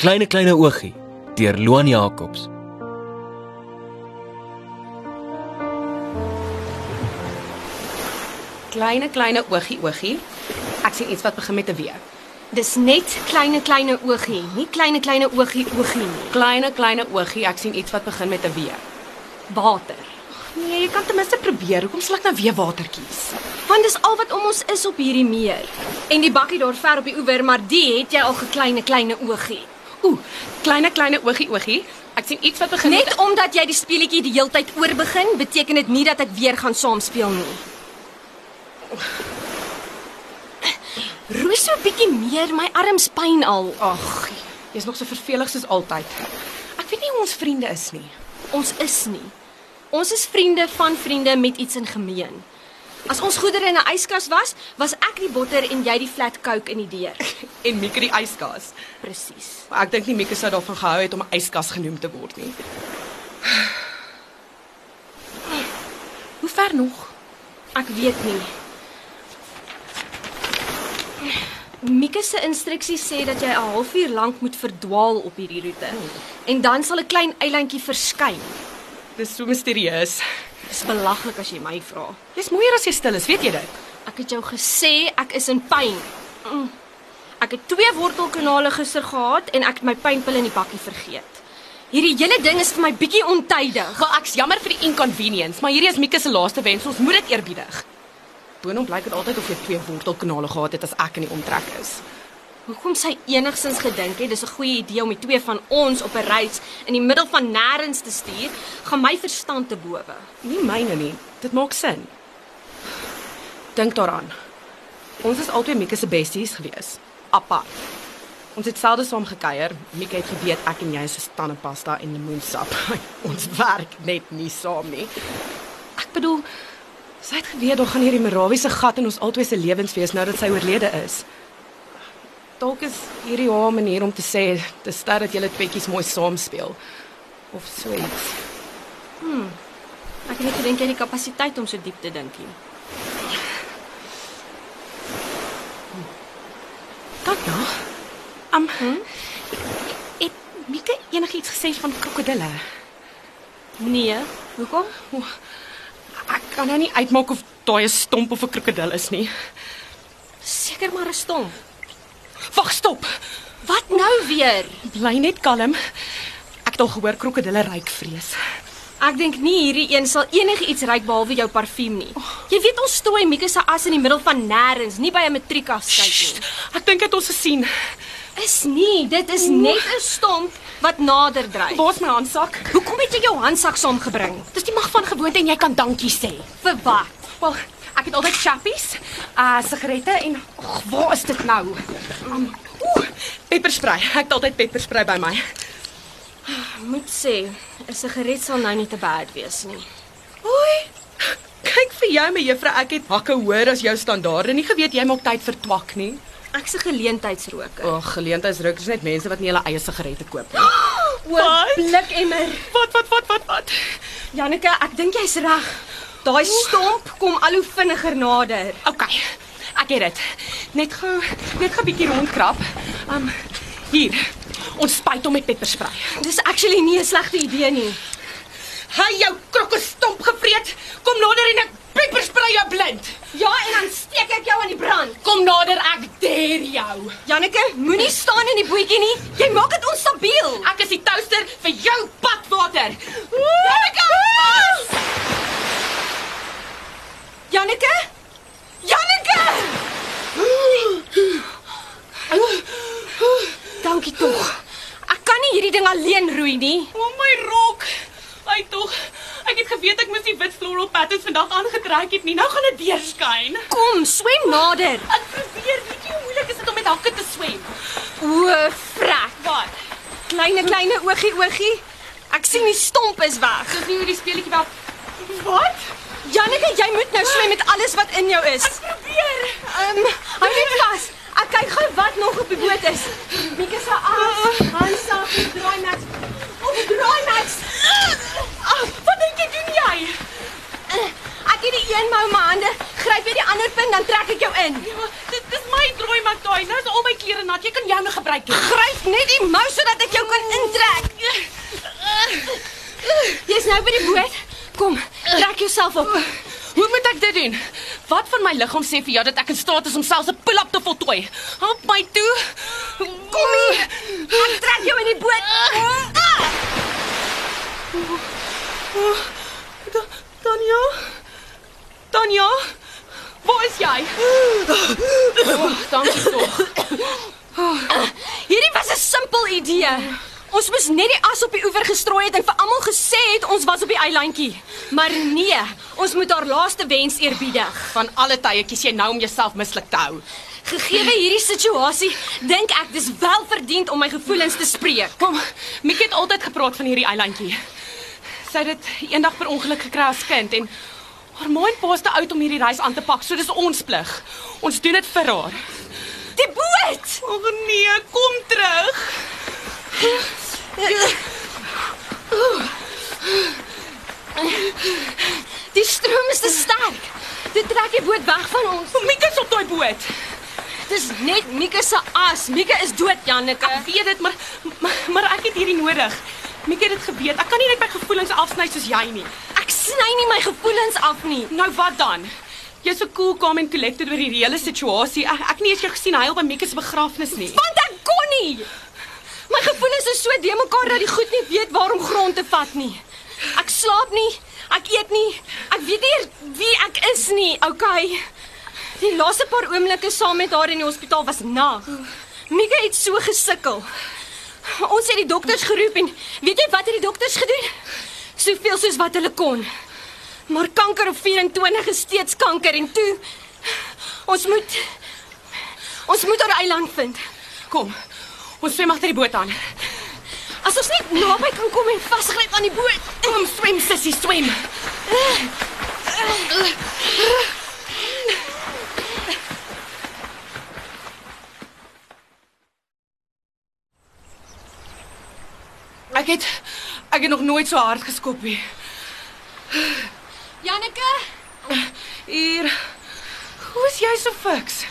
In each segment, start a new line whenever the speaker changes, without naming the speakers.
Kleine kleine oogie deur Loan Jacobs.
Kleine kleine oogie oogie. Ek sien iets wat begin met 'n W.
Dis net kleine kleine oogie, nie kleine kleine oogie oogie nie.
Kleine kleine oogie, ek sien iets wat begin met 'n W.
Water.
Nee, jy kan ten minste probeer. Hoekom sal ek nou weer water kies?
Want dis al wat om ons is op hierdie meer. En die bakkie daar ver op die oewer, maar die het jy al gekleine kleine oogie.
Ooh, kleine kleine oogie oogie. Ek sien iets wat begin
Net
met
omdat jy die speletjie die heeltyd oor begin, beteken dit nie dat ek weer gaan saam speel nie. Roos so 'n bietjie meer, my arms pyn al.
Ag, jy's nog so vervelig soos altyd. Ek weet nie hoe ons vriende is nie.
Ons is nie. Ons is vriende van vriende met iets in gemeen. As ons goeder in 'n yskas was, was ek die botter en jy die flat coke in die deur.
En Mieke die yskas.
Presies.
Maar ek dink nie Mieke sou daarvan gehou het om 'n yskas genoem te word nie. Hoe ver nog?
Ek weet nie. Mika se instruksies sê dat jy 'n halfuur lank moet verdwaal op hierdie roete. En dan sal 'n klein eilandjie verskyn.
Dis so misterieus.
Dis belaglik as jy my vra.
Jy's mooier as jy stil is, weet jy dit?
Ek het jou gesê ek is in pyn. Mm. Ek het twee wortelkanale gister gehad en ek het my pynpil in die bakkie vergeet. Hierdie hele ding is vir my bietjie ontydig.
Wel, ek's jammer vir die inconvenience, maar hierdie is Mieke se laaste wens. Ons moet dit eerbiedig. Boonop lyk dit altyd of jy twee wortelkanale gehad het as ek in die omtrek is.
Hoekom sy enigsins gedink het dis 'n goeie idee om die twee van ons op 'n reis in die middel van nêrens te stuur, gaan my verstand te bowe.
Nie myne nie. Dit maak sin. Dink daaraan. Ons is albei Mieke se besties gewees. Apart. Ons het selde saam gekuier. Mieke het geweet ek en jy is soos tandepasta en lemoensap. ons werk net nie saam nie. Ek bedoel, sy het geweet daar gaan hierdie Merawiese gat in ons albei se lewens wees nou dat sy oorlede is. Dalk is hierdie haar manier om te sê, te ster dat julle tweeetjies mooi saam speel of so iets.
Ek het net gedink jy het die kapasiteit om so diep te dink nie.
Kyk nou. Am. Hm? Het Mieke enigiets gesê van krokodille?
Nee, hoekom?
O, ek kan nou nie uitmaak of daai 'n stomp of 'n krokodil is nie.
Seker maar 'n stomp.
Wag, stop.
Wat nou weer?
Bly net kalm. Ek het al gehoor krokodille ruik vrees.
Ek dink nie hierdie een sal enigiets ryk behalwe jou parfuum nie. Jy weet ons stooi Mika se as in die middel van nêrens, nie by 'n matriekafskeid
Sst,
nie.
Ek dink dit ons gesien.
Is nie, dit is net 'n stomp wat nader dryf.
Waar's my handsak?
Hoekom het jy jou handsak saamgebring?
Dis die mag van gewoonte en jy kan dankie sê.
Vir wat?
Wel, ek het altyd chappies,
Ah,
uh sigarette en och, waar is dit nou? Um, Ooh, pepperspray. Ek het altyd pepperspray by my.
Moet sê, 'n sigaret sal nou nie te bad wees nie.
Hoi. Kyk vir jou my juffrou, ek het hakke hoër as jou standaarde. Nie geweet jy maak tyd vir twak nie.
Ek se geleentheidsroker.
O, geleentheidsruk is net mense wat nie hulle eie sigarette koop nie.
Oor blikemmer.
Wat wat wat wat wat?
Janneke, ek dink jy's reg. Daai stomp kom al hoe vinniger nader.
OK. Ek het dit. Net gou, net gou 'n bietjie rondkrap. Um hier. Ons spuit hom met pepperspray.
Dis actually nie 'n slegte idee nie.
Hy jou krokkestomp gevreet. Kom nader en ek pepperspray jou blind.
Ja, en dan steek ek jou aan die brand.
Kom nader, ek dare jou.
Janneke, moenie staan in die bootjie nie. Jy maak dit onstabiel.
Ek is die toaster vir jou padwater. Lekker!
Janneke? Janneke! Dankie tog. Ek kan nie hierdie ding alleen roei nie.
O Oh my rok. Ai tog. Ek het geweet ek moes die wit floral patterns vandag aangetrek het nie. Nou gaan dit deurskyn.
Kom, swem nader.
Ek probeer, weet jy hoe moeilik is dit om met hakke te swem?
O, vrek.
Wat?
Kleine kleine oogie oogie. Ek sien die stomp is weg.
Dis nie hoe die speletjie werk. Wat?
Janneke, jy moet nou swem met alles wat in jou is.
Probeer.
Ehm, um, hou net vas. Ek kyk gou wat nog op die boot is. Mieke se as, handsak, die draaimat. Op die draaimat. Ah, wat dink jy doen jy? Eh, Ek het die een mou my hande, gryp jy die ander voorpunt dan trek ek jou in.
Ja, maar dit dis my drooi maak daai. Nou is al my klere nat. Jy kan joune gebruik. hê.
Gryp net die mou sodat ek jou kan intrek. Jy's nou by die boot. Kom, trek jouself op.
Hoe moet ek dit doen? Wat van my liggaam sê vir jou dat ek in staat is om selfs 'n pull-up te voltooi? Help my toe. Kom hier.
Ek trek jou in die boot. Ah!
Da, Tanya? Tanya? Waar is jy? Oh, dankie tog.
Hierdie was 'n simpel idee. Ons moes net die as op die oewer gestrooi het en vir almal gesê het ons was op die eilandjie. Maar nee, ons moet haar laaste wens eerbiedig.
Van alle tye kies jy nou om jouself mislik te hou.
Gegee hierdie situasie, dink ek dis wel verdiend om my gevoelens te spreek.
Kom, Mieke het altyd gepraat van hierdie eilandjie. Sy het dit eendag per ongeluk gekry as kind en haar ma en pa is te oud om hierdie reis aan te pak, so dis ons plig. Ons doen dit vir haar.
Die boot.
O nee, kom terug.
Die stroom is te sterk. Dit trek die boot weg van ons.
Mieke is op daai boot.
Dis net Mika se as. Mika is dood, Janneke.
Ek weet dit, maar, maar maar ek het hierdie nodig. Mieke het dit geweet. Ek kan nie net my gevoelens afsny soos jy nie.
Ek sny nie my gevoelens af nie.
Nou wat dan? Jy's so cool, calm en collected oor hierdie hele situasie. Ek, ek nie eens jou gesien huil by Mieke se begrafnis nie.
Want ek kon nie. My gevoelens is so de mekaar dat die goed nie weet waar om grond te vat nie. Ek slaap nie, ek eet nie, ek weet nie eer wie ek is nie. Okay. Die laaste paar oomblikke saam met haar in die hospitaal was nag. Mika het so gesukkel. Ons het die dokters geroep en weet jy wat het die dokters gedoen? Soveel soos wat hulle kon. Maar kanker op 24 is steeds kanker en toe ons moet ons moet haar eiland vind.
Kom. Ons swem agter die boot aan.
As ons net naby kan kom en vasgryp aan die boot.
Kom swem sissie, swem. Ek het ek het nog nooit so hard geskop nie.
Janneke,
Hier. Hoe is jy so fiks?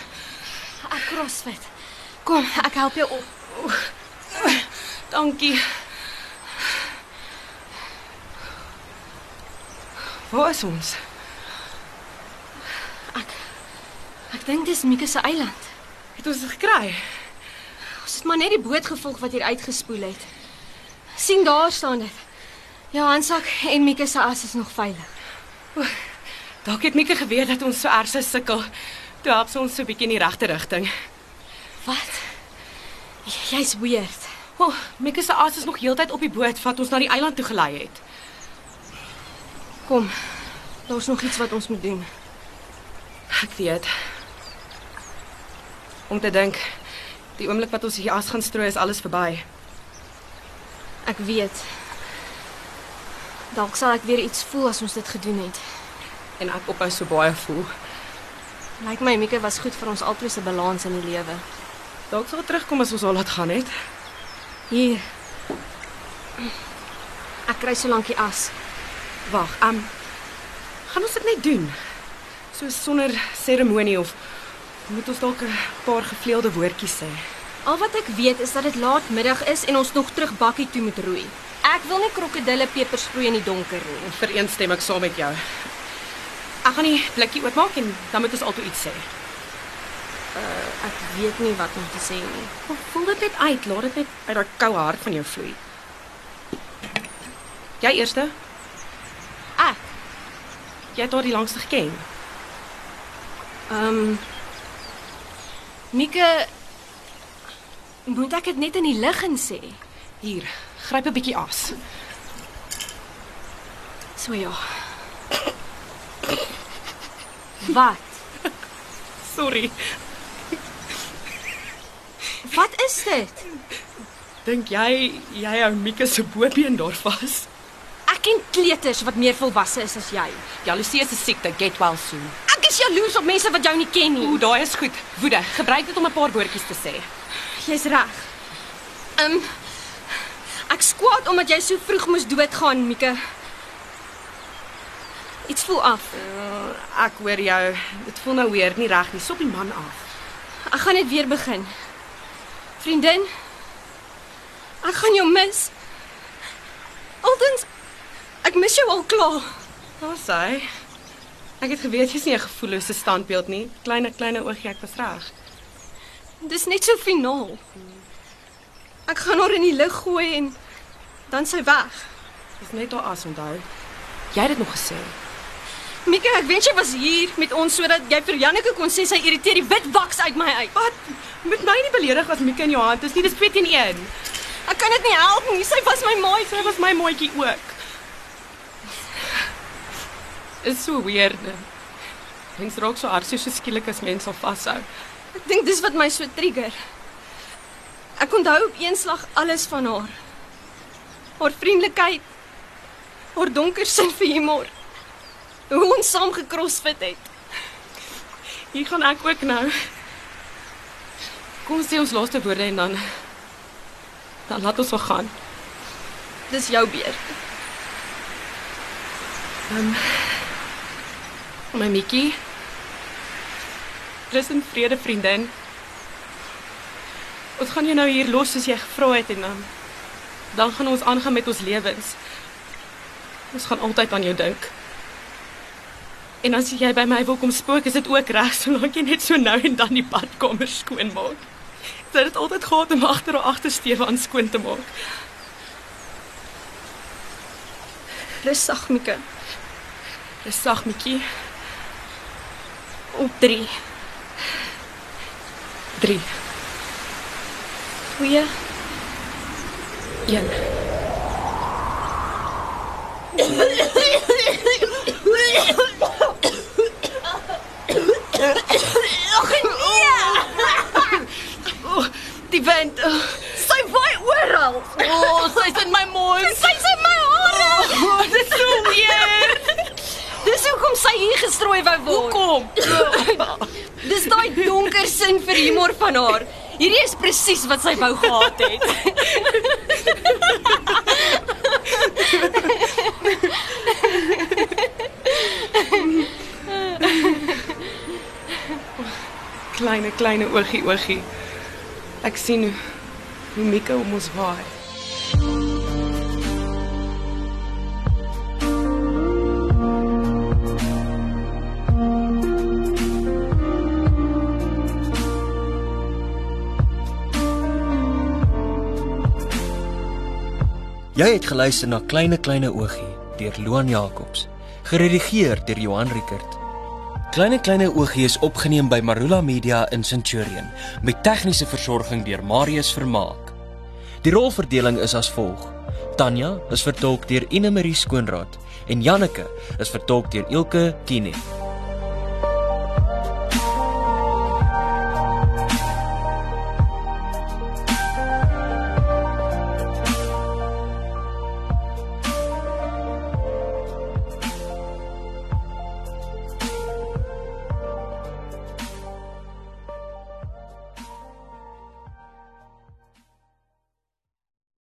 ek crossfit. Kom, ek help jou op.
Dankie. Waar is ons?
Ek dink dis Mika se eiland.
Het ons dit gekry?
Ons het maar net die boot gevolg wat hier uitgespoel het. sien daar staan dit. Jou handsak en Mika se as is nog veilig.
Dalk het Mieke geweet dat ons so erg sou sukkel. Toe help sy ons so 'n bietjie in die regte rigting.
Wat? J- Jy's weird.
O, oh, Mieke se as is nog heeltyd op die boot wat ons na die eiland toe gelei het.
Kom. Daar's nog iets wat ons moet doen.
Ek weet. Om te dink, die oomblik wat ons hier as gaan strooi is alles verby.
Ek weet. Dalk sal ek weer iets voel as ons dit gedoen het.
En ek ophou so baie voel.
Lyk my Mika was goed vir ons albei se balans in die lewe.
Dalk sal dit terugkom as ons al laat gaan het.
Hier. Ek kry so lank die as.
Wag, ehm um, gaan ons dit net doen? So sonder seremonie of moet ons dalk 'n paar gevleelde woordjies sê?
Al wat ek weet is dat dit laatmiddag is en ons nog terug bakkie toe moet roei. Ek wil nie krokodille pepers sproei in die donker nie.
Vir een stem ek saam met jou. Ek gaan die blikkie oopmaak en dan moet ons altoe iets sê.
Eh, Ek weet nie wat om te sê nie.
Kom, Voel dit net uit, laat dit net uit daai koue hart van jou vloei. Jy eerste,
Ek,
jy het haar die langste geken.
ehm um, Mika moet ek dit net in die lig in sê.
Hier, gryp 'n bietjie as.
So ja. Wat?
Sorry.
Wat is dit?
Dink jy jy hou Mieke se boobeen daar vas?
Ek ken kleuters wat meer volwasse is as jy.
Jaloesie Ja, is 'n siekte, get well soon.
Ek is jaloers op mense wat jou nie ken nie.
Ooh, daai is goed. Woede, gebruik dit om 'n paar woordjies te sê.
Jy's reg. Ehm um, ek skwaad omdat jy so vroeg moes doodgaan, Mika. Iets voel af.
Eh, Ek hoor jou. Dit voel nou weer nie reg nie. Sop die man af.
Ek gaan net weer begin. Vriendin, ek gaan jou mis. Altens ek mis jou al klaar.
Daar sê. Ek het geweet jy's nie 'n gevoellose standbeeld nie. Kleine kleine oogie, ek was reg.
Dis net so finaal. Ek gaan haar in die lug gooi en dan sy weg.
Dis net haar as onthou. Jy het dit nog gesê.
Mika, ek wens jy was hier met ons sodat jy vir Janneke kon sê sy irriteer die wit waks uit my uit.
Wat? Moet my nie beledig as Mika in jou hand is nie. Dis 2 teen 1.
Ek kan dit nie
Oh,
help nie. Sy was my maai
Sy was my maatjie ook. Is so weird. Mens raak so hartseer so skielik as mens al vashou.
Ek dink dis wat my so trigger. Ek onthou op eenslag alles van haar. Haar vriendelikheid, haar donker sin vir humor. Hoe ons saam gekrossfit het.
Hier gaan ek ook nou. Kom sê ons laaste woorde en dan dan laat ons wel gaan.
Dis jou beurt.
My Mikkie. Rus in vrede vriendin. Ons gaan jou nou hier los soos jy gevra het en dan dan gaan ons aangaan met ons lewens. Ons gaan altyd aan jou dink. En as jy by my wil kom spook, is dit ook reg solank jy net so nou en dan die badkamer skoon maak. Sy het dit altyd gehad om agter haar agtersteuwe aan skoon te maak.
Rus sag, Mika.
Dis sag, Mikkie.
Op 3,
3
2,
1
Oh, die wind. Oh, sy waai oral. O, oh, sy's in my mond. Sy's in my hare. Oh, dis so weird. Dis hoekom sy hier gestrooi wou word.
Kom.
Dis daai donker sin vir humor van haar. Hierdie is presies wat sy wou gehad het.
Kleine kleine oogie oogie. Ek sien hoe, hoe Mika om ons waai.
Jy het geluister na Kleine Kleine Oogie deur Loan Jacobs, geredigeer deur Johan Rickert. Kleine Kleine Oogie is opgeneem by Marula Media in Centurion met tegniese versorging deur Marius Vermaak. Die rolverdeling is as volg: Tanya is vertolk deur Ine Marie Skoonraad en Janneke is vertolk deur Elke Kiene.